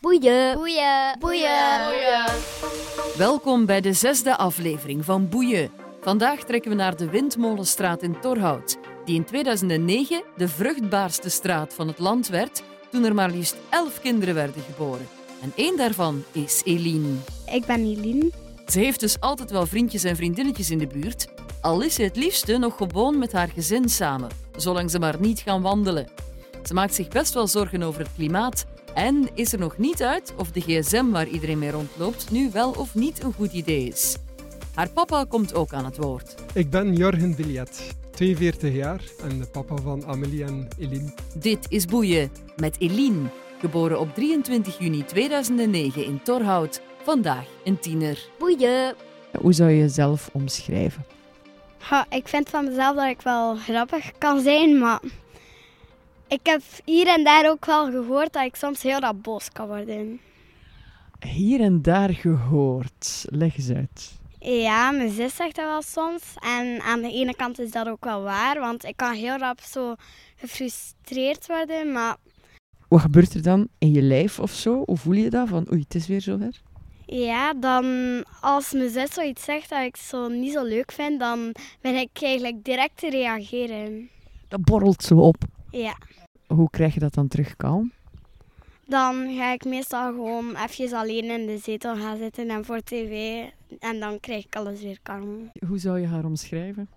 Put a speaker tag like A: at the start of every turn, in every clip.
A: Boeien!
B: Boeien.
C: Welkom bij de zesde aflevering van Boeien. Vandaag trekken we naar de Windmolenstraat in Torhout, die in 2009 de vruchtbaarste straat van het land werd toen er maar liefst elf kinderen werden geboren. En één daarvan is Eline.
A: Ik ben Eline.
C: Ze heeft dus altijd wel vriendjes en vriendinnetjes in de buurt, al is ze het liefste nog gewoon met haar gezin samen, zolang ze maar niet gaan wandelen. Ze maakt zich best wel zorgen over het klimaat en is er nog niet uit of de gsm waar iedereen mee rondloopt nu wel of niet een goed idee is. Haar papa komt ook aan het woord.
D: Ik ben Jorgen Biljet, 42 jaar en de papa van Amelie en Eline.
C: Dit is Boeien met Eline, geboren op 23 juni 2009 in Torhout, vandaag een tiener.
A: Boeien!
E: Hoe zou je jezelf omschrijven?
A: Ha, ik vind van mezelf dat ik wel grappig kan zijn, maar ik heb hier en daar ook wel gehoord dat ik soms heel dat boos kan worden.
E: Hier en daar gehoord. Leg eens uit.
A: Ja, mijn zus zegt dat wel soms. En aan de ene kant is dat ook wel waar, want ik kan heel rap zo gefrustreerd worden. Maar
E: Wat gebeurt er dan in je lijf of zo? Hoe voel je dat? Van oei, het is weer zover.
A: ja, dan als mijn zus zoiets zegt dat ik zo niet zo leuk vind, dan ben ik eigenlijk direct te reageren.
E: Dat borrelt zo op.
A: Ja.
E: Hoe krijg je dat dan terug kalm?
A: Dan ga ik meestal gewoon even alleen in de zetel gaan zitten en voor tv. En dan krijg ik alles weer kalm.
E: Hoe zou je haar omschrijven?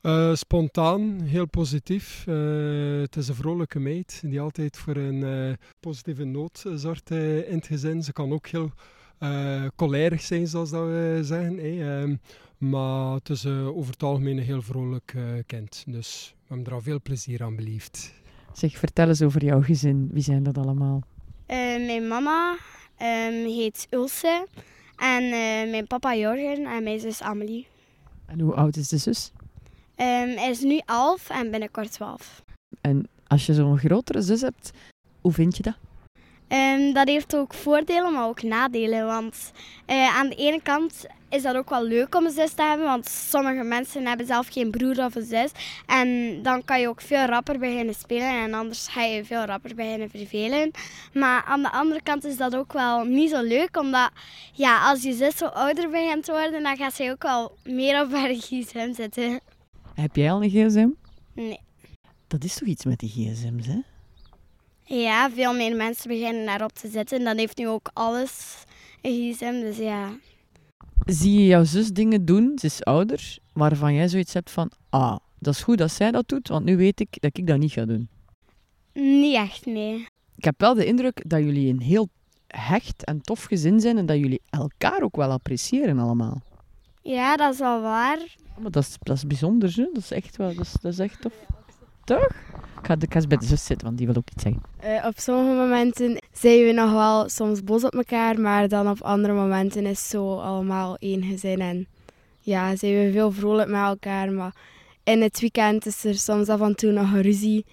D: Eh, spontaan, heel positief. Eh, het is een vrolijke meid die altijd voor een eh, positieve noot eh, zorgt eh, in het gezin. Ze kan ook heel eh cholerig zijn, zoals dat we zeggen. hè. Ehm, maar het is eh, over het algemeen een heel vrolijk eh, kind. Dus we hebben er al veel plezier aan beleefd.
E: Zeg, vertel eens over jouw gezin. Wie zijn dat allemaal?
A: Eh, mijn mama ehm, heet Ulse. En eh, mijn papa Jorgen en mijn zus Amelie.
E: En hoe oud is de zus?
A: Ehm, hij is nu 11 en binnenkort 12.
E: En als je zo'n grotere zus hebt, hoe vind je dat?
A: Ehm, dat heeft ook voordelen, maar ook nadelen. Want eh, aan de ene kant is dat ook wel leuk om een zus te hebben. Want sommige mensen hebben zelf geen broer of een zus. En dan kan je ook veel rapper beginnen spelen. En anders ga je veel rapper beginnen vervelen. Maar aan de andere kant is dat ook wel niet zo leuk. Omdat ja, als je zus zo ouder begint te worden, dan gaat zij ook wel meer op haar gsm zitten.
E: Heb jij al een gsm?
A: Nee.
E: Dat is toch iets met die gsm's, hè?
A: Ja, veel meer mensen beginnen daarop te zitten. Dan heeft nu ook alles een gsm. Dus ja.
E: Zie je jouw zus dingen doen, ze is ouder, waarvan jij zoiets hebt van... Ah, dat is goed dat zij dat doet, want nu weet ik dat ik dat niet ga doen.
A: Niet echt, nee.
E: Ik heb wel de indruk dat jullie een heel hecht en tof gezin zijn en dat jullie elkaar ook wel appreciëren allemaal.
A: Ja, dat is wel waar.
E: Maar dat is, dat is bijzonder, hè? dat is echt wel, dat is, dat is echt tof. Toch? Ik ga, ik ga eens bij de zus zitten, want die wil ook iets zeggen.
F: Eh, op sommige momenten zijn we nog wel soms boos op elkaar, maar dan op andere momenten is zo allemaal één gezin. En ja, zijn we veel vrolijk met elkaar, maar in het weekend is er soms af en toe nog een ruzie.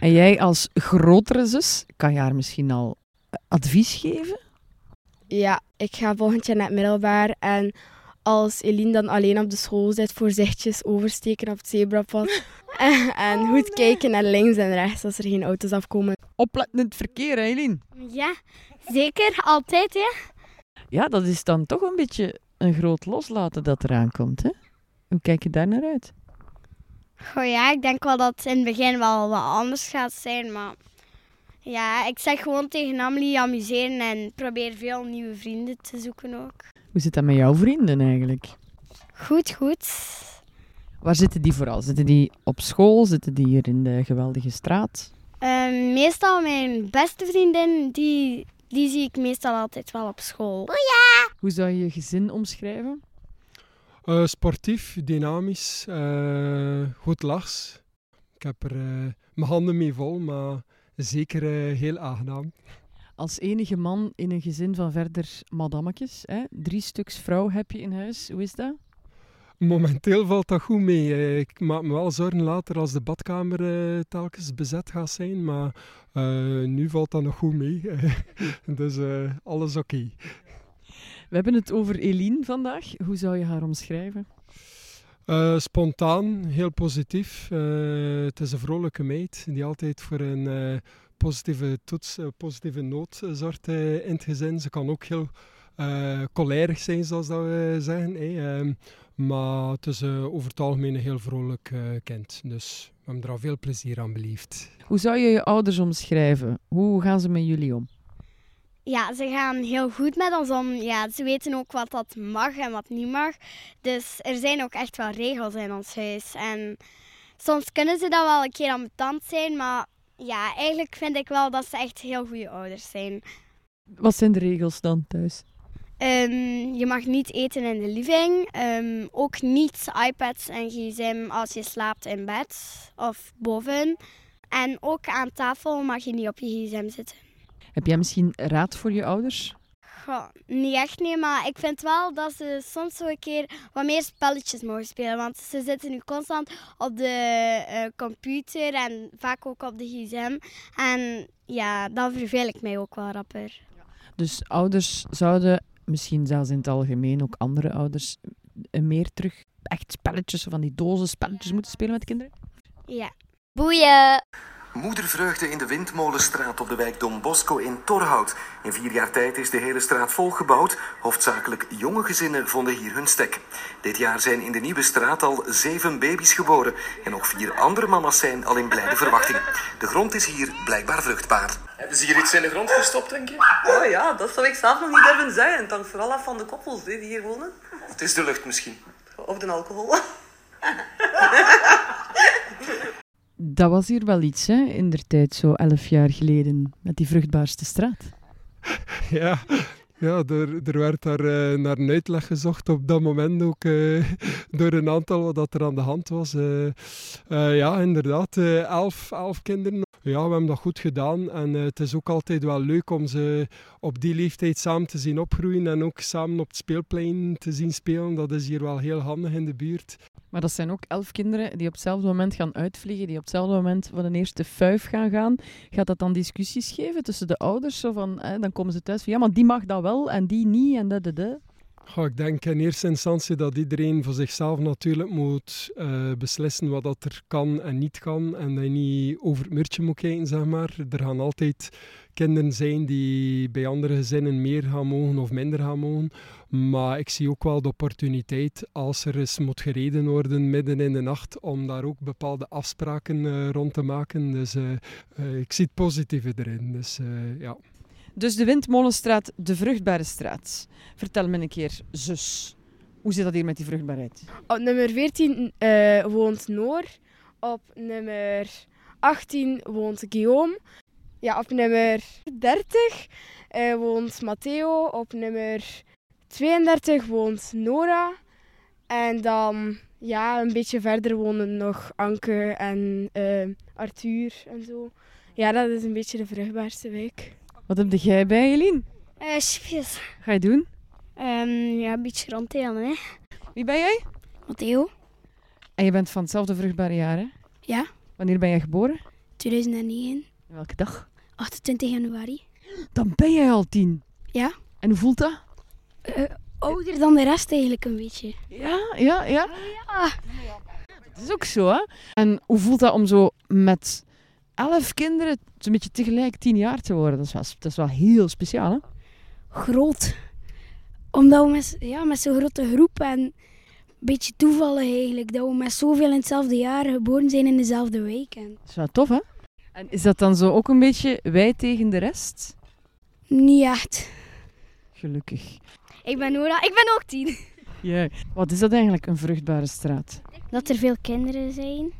E: En jij als grotere zus, kan je haar misschien al eh, advies geven?
F: Ja, ik ga volgend jaar naar het middelbaar en als Eline dan alleen op de school zit, voorzichtig oversteken op het zebrapad. en goed kijken naar links en rechts als er geen auto's afkomen.
E: Opletten in het verkeer, hè, Eileen?
A: Ja, zeker. Altijd, hè?
E: Ja, dat is dan toch een beetje een groot loslaten dat eraan komt, hè? Hoe kijk je daar naar uit?
A: Goh, ja, ik denk wel dat het in het begin wel wat anders gaat zijn, maar... Ja, ik zeg gewoon tegen Amelie amuseren en probeer veel nieuwe vrienden te zoeken ook.
E: Hoe zit dat met jouw vrienden eigenlijk?
A: Goed, goed.
E: Waar zitten die vooral? Zitten die op school? Zitten die hier in de geweldige straat?
A: Ehm, meestal mijn beste vriendin, die, die zie ik meestal altijd wel op school.
E: Hoe zou je je gezin omschrijven?
D: Eh, sportief, dynamisch, eh, goed lachs. Ik heb er eh, mijn handen mee vol, maar zeker eh, heel aangenaam.
E: Als enige man in een gezin van verder madammetjes, hè? drie stuks vrouw heb je in huis. Hoe is dat?
D: Momenteel valt dat goed mee. Eh, Ik maak me wel zorgen later als de badkamer eh, telkens bezet gaat zijn, maar eh, nu valt dat nog goed mee. dus eh, alles oké.
E: We hebben het over Eline vandaag. Hoe zou je haar omschrijven?
D: Eh, spontaan, heel positief. Eh, het is een vrolijke meid die altijd voor een eh, positieve toets, eh, positieve noot eh, zorgt eh, in het gezin. Ze kan ook heel eh cholerig zijn, zoals dat we zeggen. hè. Ehm, maar het is eh, over het algemeen een heel vrolijk eh, kind. Dus we hebben er al veel plezier aan beleefd.
E: Hoe zou je je ouders omschrijven? Hoe gaan ze met jullie om?
A: Ja, ze gaan heel goed met ons om. Ja, ze weten ook wat dat mag en wat niet mag. Dus er zijn ook echt wel regels in ons huis. En soms kunnen ze dan wel een keer ambetant zijn, maar ja, eigenlijk vind ik wel dat ze echt heel goede ouders zijn.
E: Wat zijn de regels dan thuis?
A: Ehm, je mag niet eten in de living. Ehm, ook niet iPads en gsm als je slaapt in bed of boven. En ook aan tafel mag je niet op je gsm zitten.
E: Heb jij misschien raad voor je ouders?
A: Goh, niet echt, nee, maar ik vind wel dat ze soms zo een keer wat meer spelletjes mogen spelen. Want ze zitten nu constant op de eh, computer en vaak ook op de gsm. En ja, dan verveel ik mij ook wel rapper.
E: Dus ouders zouden, misschien zelfs in het algemeen, ook andere ouders, eh, meer terug echt spelletjes, zo van die dozen spelletjes moeten spelen met kinderen?
A: Ja.
B: Boeien!
G: Moedervreugde in de Windmolenstraat op de wijk Don Bosco in Torhout. In vier jaar tijd is de hele straat volgebouwd. Hoofdzakelijk jonge gezinnen vonden hier hun stek. Dit jaar zijn in de nieuwe straat al zeven baby's geboren. En nog vier andere mama's zijn al in blijde verwachting. De grond is hier blijkbaar vruchtbaar.
H: Hebben ze hier iets in de grond gestopt, denk je?
I: Oh ja, dat zou ik zelf nog niet durven zeggen. Het hangt vooral af van de koppels hè, die hier wonen.
H: Of het is de lucht misschien?
I: Of de alcohol.
E: Dat was hier wel iets, hè, in der tijd, zo elf jaar geleden, met die vruchtbaarste straat.
D: Ja, ja er, er werd daar eh, naar een uitleg gezocht op dat moment ook eh, door een aantal wat dat er aan de hand was. Eh, eh, ja, inderdaad, eh, elf, elf kinderen. Ja, we hebben dat goed gedaan en eh, het is ook altijd wel leuk om ze op die leeftijd samen te zien opgroeien en ook samen op het speelplein te zien spelen. Dat is hier wel heel handig in de buurt.
E: Maar dat zijn ook elf kinderen die op hetzelfde moment gaan uitvliegen, die op hetzelfde moment van een eerste fuif gaan gaan. Gaat dat dan discussies geven tussen de ouders? Zo van, hè, dan komen ze thuis van, ja, maar die mag dat wel en die niet en dat, dat, dat.
D: Goh, ik denk in eerste instantie dat iedereen voor zichzelf natuurlijk moet eh, beslissen wat dat er kan en niet kan. En dat je niet over het muurtje moet kijken, zeg maar. Er gaan altijd kinderen zijn die bij andere gezinnen meer gaan mogen of minder gaan mogen. Maar ik zie ook wel de opportuniteit als er eens moet gereden worden midden in de nacht om daar ook bepaalde afspraken eh, rond te maken. Dus eh, eh, ik zie het positieve erin. Dus eh, ja.
E: Dus de Windmolenstraat, de vruchtbare straat. Vertel me een keer, zus, hoe zit dat hier met die vruchtbaarheid?
F: Op nummer 14 eh, woont Noor. Op nummer 18 woont Guillaume. Ja, op nummer 30 eh, woont Matteo. Op nummer 32 woont Nora. En dan ja, een beetje verder wonen nog Anke en eh, Arthur en zo. Ja, dat is een beetje de vruchtbaarste wijk.
E: Wat heb jij bij, Eline?
A: Eh chipjes.
E: Ga je doen?
A: Ehm, ja, een beetje ronddelen, hè.
E: Wie ben jij?
A: Matteo?
E: En je bent van hetzelfde vruchtbare jaar, hè?
A: Ja.
E: Wanneer ben jij geboren?
A: 2009,
E: Welke dag?
A: 28 januari.
E: Dan ben jij al tien.
A: Ja.
E: En hoe voelt dat?
A: Ouder dan de rest eigenlijk een beetje.
E: Ja, ja, ja. Dat is ook zo, hè? En hoe voelt dat om zo met elf kinderen zo'n beetje tegelijk tien jaar te worden? Dat is wel, dat is wel heel speciaal, hè?
J: groot. Omdat we met, ja, met zo'n grote groep en een beetje toevallig eigenlijk, dat we met zoveel in hetzelfde jaar geboren zijn in dezelfde week. En
E: Dat is wel tof, hè? En is dat dan zo ook een beetje wij tegen de rest?
J: niet echt.
E: Gelukkig.
A: Ik ben Nora, ik ben ook 10.
E: Ja. Wat is dat eigenlijk, een vruchtbare straat?
J: Dat er veel kinderen zijn,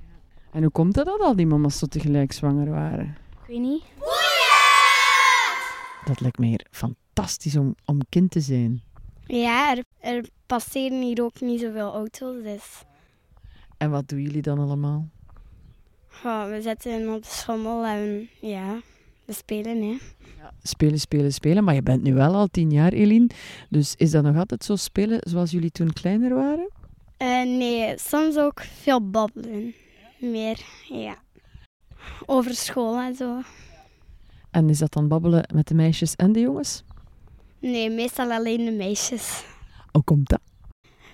E: En hoe komt dat dat al die mama's zo tegelijk zwanger waren?
J: ik weet niet.
E: Dat lijkt me hier fantastisch om, om kind te zijn.
A: Ja, er, er passeren hier ook niet zoveel auto's, dus...
E: En wat doen jullie dan allemaal?
A: Goh, we zitten op de schommel en ja, we spelen, hè.
E: Spelen, spelen, spelen. Maar je bent nu wel al tien jaar, Eline. Dus is dat nog altijd zo spelen zoals jullie toen kleiner waren?
A: Eh, nee, soms ook veel babbelen. Meer, ja. Over school en zo.
E: En is dat dan babbelen met de meisjes en de jongens?
A: Nee, meestal alleen de meisjes.
E: Hoe komt dat?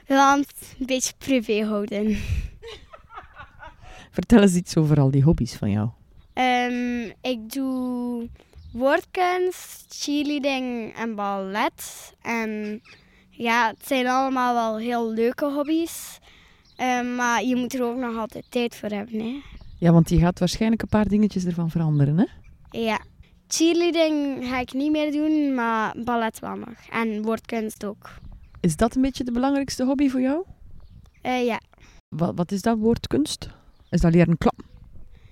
A: Want een beetje privé houden.
E: Vertel eens iets over al die hobby's van jou.
A: Ehm, ik doe woordkunst, cheerleading en ballet. En ja, het zijn allemaal wel heel leuke hobby's. Ehm, maar je moet er ook nog altijd tijd voor hebben. Hè?
E: Ja, want je gaat waarschijnlijk een paar dingetjes ervan veranderen, hè?
A: Ja. Cheerleading ga ik niet meer doen, maar ballet wel nog. En woordkunst ook.
E: Is dat een beetje de belangrijkste hobby voor jou?
A: Eh, ja.
E: Wat, wat is dat woord kunst? Is dat leren klappen?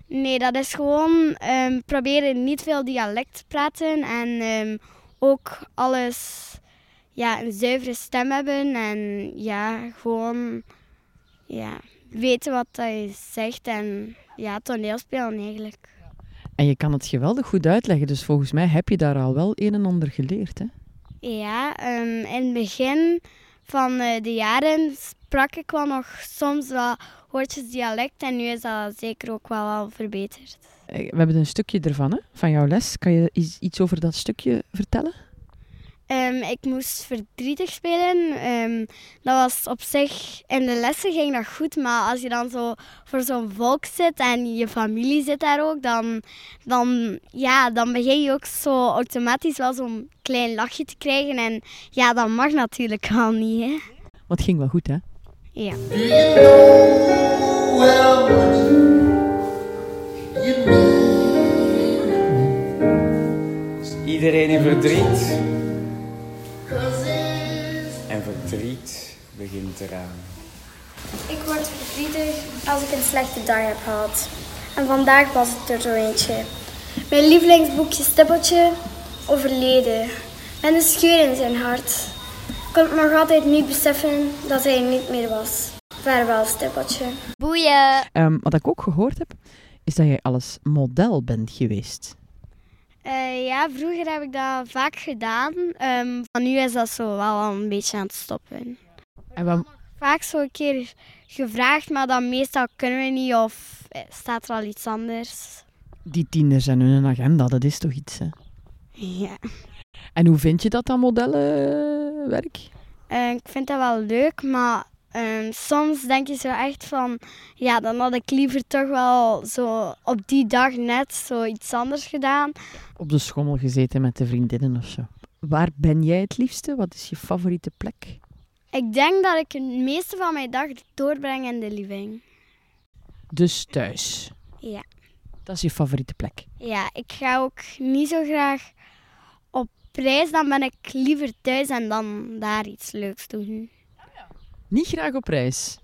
A: Nee, dat is gewoon ehm, proberen niet veel dialect te praten en ehm, ook alles, ja, een zuivere stem hebben en ja, gewoon ja, weten wat dat je zegt en ja, toneelspelen eigenlijk.
E: En je kan het geweldig goed uitleggen, dus volgens mij heb je daar al wel een en ander geleerd, hè?
A: Ja, ehm, in het begin van eh, de jaren sprak ik wel nog soms wel woordjes dialect en nu is dat zeker ook wel al verbeterd.
E: Eh, We hebben een stukje ervan, hè? Van jouw les. Kan je iets iets over dat stukje vertellen?
A: Ehm, ik moest verdrietig spelen. Ehm, dat was op zich, in de lessen ging dat goed, maar als je dan zo voor zo'n volk zit en je familie zit daar ook, dan, dan, ja, dan begin je ook zo automatisch wel zo'n klein lachje te krijgen. En ja, dat mag natuurlijk al niet. Hè?
E: Want het ging wel goed, hè?
A: Ja.
B: Iedereen in verdriet. En verdriet begint eraan.
K: Ik word verdrietig als ik een slechte dag heb gehad. En vandaag was het er zo eentje. Mijn lievelingsboekje Stippeltje, overleden. Met een scheur in zijn hart. Ik kon nog altijd niet beseffen dat hij er niet meer was. Vaarwel, Stippeltje. Boeien!
E: Ehm, wat ik ook gehoord heb, is dat jij alles model bent geweest.
A: Eh, ja, vroeger heb ik dat vaak gedaan, Ehm, maar nu is dat zo wel al een beetje aan het stoppen.
E: En wat,
A: vaak zo een keer gevraagd, maar dan meestal kunnen we niet of eh, staat er al iets anders.
E: die tieners en hun agenda, dat is toch iets, hè?
A: Ja.
E: En hoe vind je dat, dat modellenwerk?
A: Eh, ik vind dat wel leuk, maar ehm, soms denk je zo echt van, ja, dan had ik liever toch wel zo op die dag net zo iets anders gedaan.
E: Op de schommel gezeten met de vriendinnen of zo. Waar ben jij het liefste? Wat is je favoriete plek?
A: Ik denk dat ik het meeste van mijn dag doorbreng in de living.
E: Dus thuis.
A: Ja.
E: Dat is je favoriete plek.
A: Ja, ik ga ook niet zo graag op reis, dan ben ik liever thuis en dan daar iets leuks doen.
E: Niet graag op reis.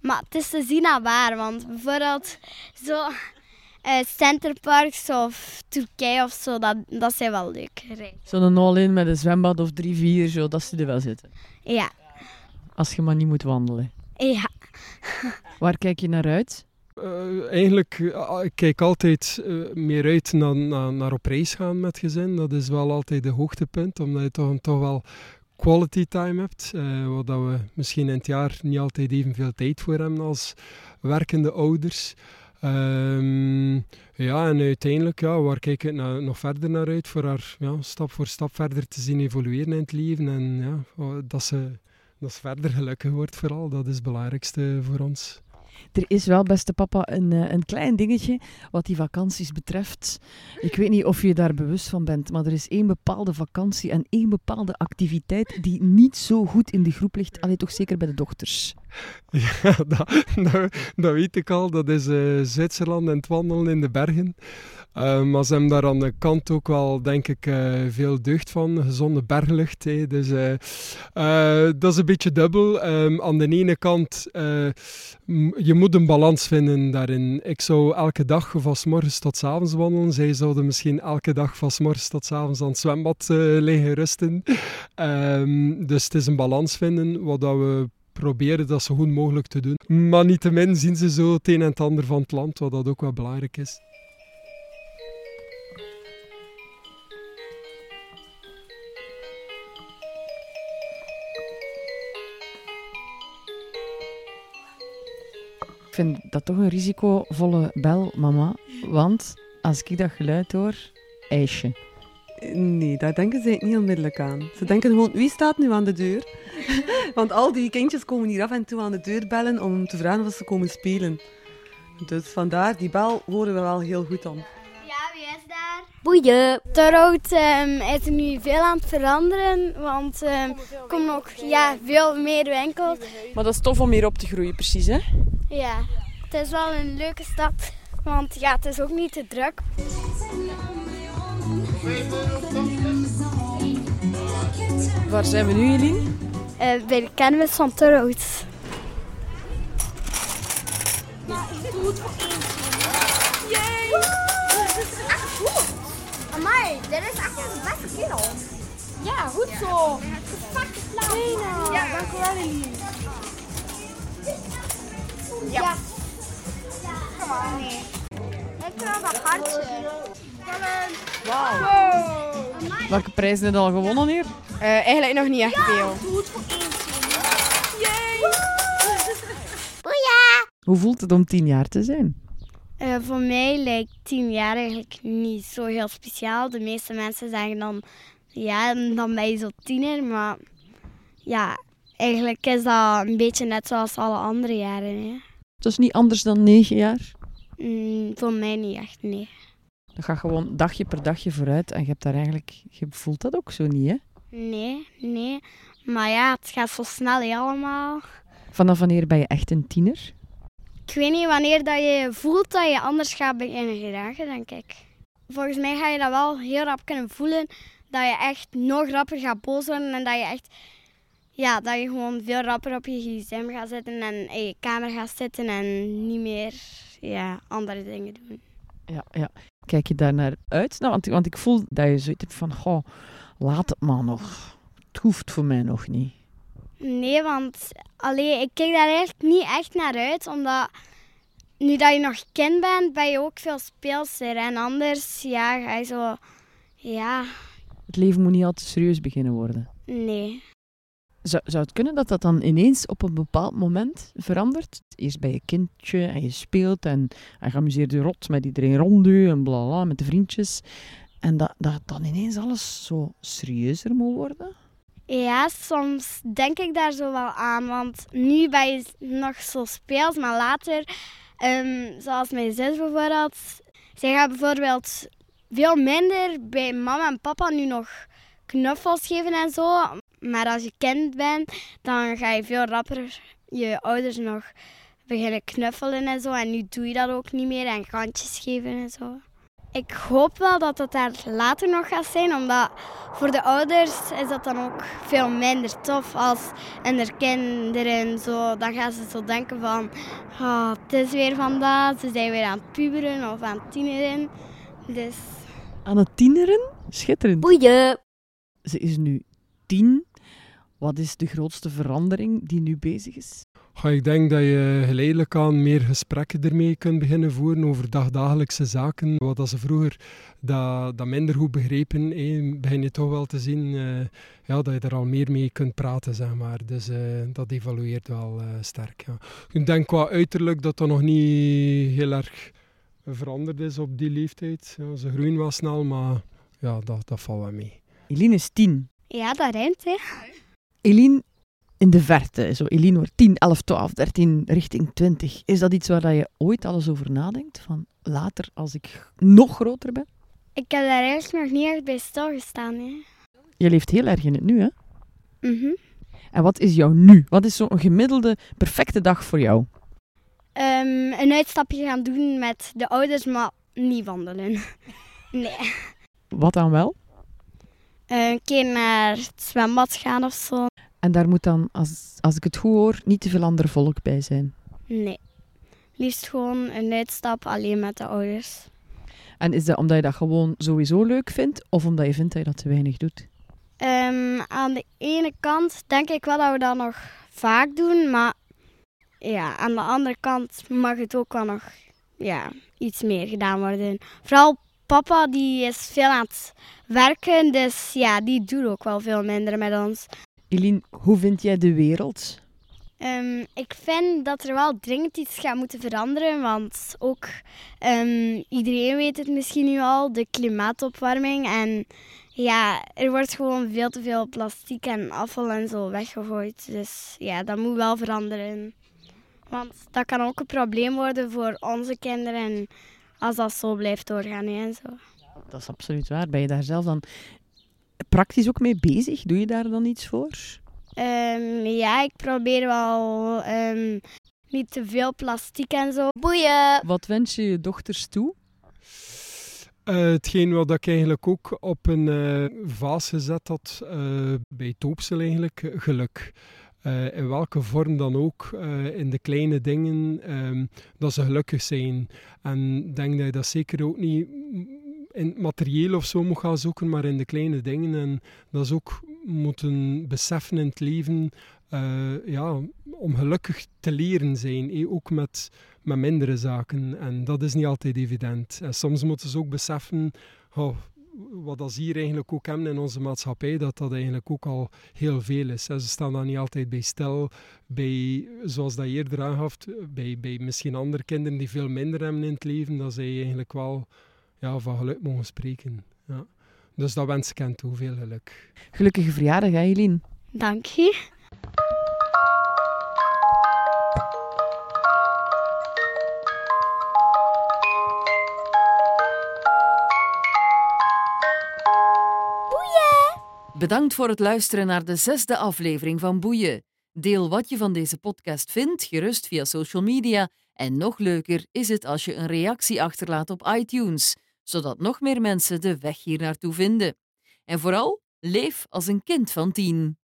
A: Maar het is te zien aan waar, want bijvoorbeeld zo eh, centerparks of Turkije of zo, dat, dat zijn wel leuk.
E: Zo'n all-in met een zwembad of drie, vier, zo, dat ze er wel zitten.
A: Ja,
E: Als je maar niet moet wandelen.
A: ja.
E: Waar kijk je naar uit?
D: Eh, eigenlijk, eh, ik kijk altijd eh, meer uit naar, naar, naar op reis gaan met gezin. Dat is wel altijd de hoogtepunt, omdat je toch, toch wel quality time hebt. eh, wat dat we misschien in het jaar niet altijd evenveel tijd voor hebben als werkende ouders. Ehm, ja, en uiteindelijk, ja, waar kijk ik na- nog verder naar uit? Voor haar ja, stap voor stap verder te zien evolueren in het leven. En ja, oh, dat ze, dat ze verder gelukkig wordt vooral. Dat is het belangrijkste voor ons.
E: Er is wel, beste papa, een, eh, een klein dingetje wat die vakanties betreft. Ik weet niet of je daar bewust van bent, maar er is één bepaalde vakantie en één bepaalde activiteit die niet zo goed in de groep ligt. Alleen toch zeker bij de dochters.
D: Ja, dat, dat, dat weet ik al. Dat is eh, Zwitserland en het wandelen in de bergen. Eh, maar ze hebben daar aan de kant ook wel, denk ik, eh, veel deugd van. Gezonde berglucht. hè. Dus eh, eh, dat is een beetje dubbel. Ehm, aan de ene kant, eh, m- je moet een balans vinden daarin. Ik zou elke dag van 's morgens tot 's avonds wandelen. Zij zouden misschien elke dag van 's morgens tot 's avonds aan het zwembad eh, liggen rusten. Ehm, dus het is een balans vinden wat dat we proberen dat zo goed mogelijk te doen. Maar niettemin zien ze zo het een en het ander van het land, wat dat ook wel belangrijk is.
E: Ik vind dat toch een risicovolle bel, mama. Want als ik dat geluid hoor, ijsje.
I: Nee, daar denken zij niet onmiddellijk aan. Ze denken gewoon, wie staat nu aan de deur? Want al die kindjes komen hier af en toe aan de deur bellen om te vragen of ze komen spelen. Dus vandaar, die bel horen we wel heel goed aan.
A: Boeien. De rood ehm, is nu veel aan het veranderen, want ehm, er komen ook ja, veel meer winkels.
L: Maar dat is tof om hier op te groeien, precies, hè?
A: Ja, het is wel een leuke stad, want ja, het is ook niet te druk.
L: Waar zijn we nu, Eline?
A: Eh, bij de kermis van Te Rood.
M: Amai, dit is echt een beste kerel. Ja, goed zo. Perfecte plan. Ja, dankjewel Eline. Ja. Kom maar. Nee. Ik wil dat hartje. Wauw.
E: Welke prijzen heb je al gewonnen hier?
F: Eh,
M: eigenlijk nog niet echt veel.
E: Hoe voelt het om tien jaar te zijn?
A: Eh, voor mij lijkt tien jaar eigenlijk niet zo heel speciaal. De meeste mensen zeggen dan, ja, dan ben je zo tiener. Maar ja, eigenlijk is dat een beetje net zoals alle andere jaren. Hè.
E: Het is niet anders dan negen jaar.
A: Mm, voor mij niet echt, nee.
E: Dat gaat gewoon dagje per dagje vooruit en je hebt daar eigenlijk, je voelt dat ook zo niet, hè?
A: Nee, nee. Maar ja, het gaat zo snel hè, allemaal.
E: Vanaf wanneer ben je echt een tiener?
A: Ik weet niet wanneer dat je voelt dat je anders gaat beginnen gedragen, denk ik. Volgens mij ga je dat wel heel rap kunnen voelen. Dat je echt nog rapper gaat boos worden. En dat je echt... Ja, dat je gewoon veel rapper op je gsm gaat zitten. En in je kamer gaat zitten. En niet meer ja, andere dingen doen.
E: Ja, ja. Kijk je daar naar uit? Nou, want, want ik voel dat je zoiets hebt van, goh, laat het maar nog. Het hoeft voor mij nog niet.
A: Nee, want allee, ik kijk daar eigenlijk niet echt naar uit, omdat nu dat je nog kind bent, ben je ook veel speelser. En anders, ja, ga je zo... Ja,
E: Het leven moet niet al te serieus beginnen worden.
A: nee.
E: Zou, zou het kunnen dat dat dan ineens op een bepaald moment verandert? Eerst bij je kindje en je speelt en, en je amuseert je rot met iedereen rond je en bla bla, met de vriendjes. En dat, dat dan ineens alles zo serieuzer moet worden?
A: Ja, soms denk ik daar zo wel aan, want nu ben je nog zo speels, maar later, ehm, zoals mijn zus bijvoorbeeld, zij gaat bijvoorbeeld veel minder bij mama en papa nu nog knuffels geven en zo. Maar als je kind bent, dan ga je veel rapper je ouders nog beginnen knuffelen en zo. En nu doe je dat ook niet meer en kantjes geven en zo. Ik hoop wel dat dat daar later nog gaat zijn, omdat voor de ouders is dat dan ook veel minder tof als en er kinderen zo. Dan gaan ze zo denken van, "Ah, het is weer vandaag, ze zijn weer aan het puberen of aan het tieneren. Dus
E: Aan het tieneren? Schitterend.
A: Boeien.
E: Ze is nu tien. Wat is de grootste verandering die nu bezig is?
D: Ja, ik denk dat je geleidelijk aan meer gesprekken ermee kunt beginnen voeren over dagdagelijkse zaken. Wat dat ze vroeger dat, dat minder goed begrepen, hé, begin je toch wel te zien eh, ja, dat je er al meer mee kunt praten. Zeg maar. Dus eh, dat evalueert wel eh, sterk. Ja. Ik denk qua uiterlijk dat dat nog niet heel erg veranderd is op die leeftijd. Ja, ze groeien wel snel, maar ja, dat, dat valt wel mee.
E: Eline is tien.
A: ja, dat rijmt hè.
E: Eline in de verte, zo Eline wordt 10, 11, 12, 13, richting 20. Is dat iets waar dat je ooit alles over nadenkt? Van later, als ik nog groter ben?
A: Ik heb daar eigenlijk nog niet echt bij stilgestaan hè.
E: Je leeft heel erg in het nu, hè?
A: Mhm.
E: En wat is jouw nu? Wat is zo'n gemiddelde, perfecte dag voor jou?
A: Ehm, een uitstapje gaan doen met de ouders, maar niet wandelen. Nee.
E: Wat dan wel?
A: Een keer naar het zwembad gaan of zo.
E: En daar moet dan, als, als ik het goed hoor, niet te veel ander volk bij zijn.
A: Nee. Liefst gewoon een uitstap alleen met de ouders.
E: En is dat omdat je dat gewoon sowieso leuk vindt, of omdat je vindt dat je dat te weinig doet?
A: Ehm, aan de ene kant denk ik wel dat we dat nog vaak doen, maar ja, aan de andere kant mag het ook wel nog ja, iets meer gedaan worden. Vooral papa, die is veel aan het werken, dus ja, die doet ook wel veel minder met ons.
E: Eline, hoe vind jij de wereld?
A: Ehm, ik vind dat er wel dringend iets gaat moeten veranderen, want ook ehm, iedereen weet het misschien nu al, de klimaatopwarming. En ja, er wordt gewoon veel te veel plastic en afval en zo weggegooid. Dus ja, dat moet wel veranderen. Want dat kan ook een probleem worden voor onze kinderen als dat zo blijft doorgaan hè, en zo.
E: dat is absoluut waar. Ben je daar zelf dan praktisch ook mee bezig? Doe je daar dan iets voor?
A: Ehm, ja, ik probeer wel ehm, niet te veel plastic en zo. Boeien!
E: Wat wens je je dochters toe?
D: Eh, hetgeen wat ik eigenlijk ook op een eh, vaas gezet had eh, bij Toopsel eigenlijk, eh, geluk. Eh, in welke vorm dan ook, eh, in de kleine dingen, ehm, dat ze gelukkig zijn. En ik denk dat je dat zeker ook niet mm, in het materieel of zo moet gaan zoeken, maar in de kleine dingen. En dat is ook moeten beseffen in het leven, eh, ja, om gelukkig te leren zijn. eh, Ook met, met mindere zaken. En dat is niet altijd evident. En soms moeten ze ook beseffen, oh, wat dat ze hier eigenlijk ook hebben in onze maatschappij, dat dat eigenlijk ook al heel veel is. hè. Ze staan daar niet altijd bij stil, bij, zoals dat je eerder aangaf, bij, bij misschien andere kinderen die veel minder hebben in het leven, dat zij eigenlijk wel ja, van geluk mogen spreken. Ja. Dus dat wens ik hen toe, veel geluk.
E: Gelukkige verjaardag, hè, Eline?
A: Dank je.
C: Bedankt voor het luisteren naar de zesde aflevering van Boeien. Deel wat je van deze podcast vindt, gerust via social media. En nog leuker is het als je een reactie achterlaat op iTunes, zodat nog meer mensen de weg hier naartoe vinden. En vooral, leef als een kind van tien.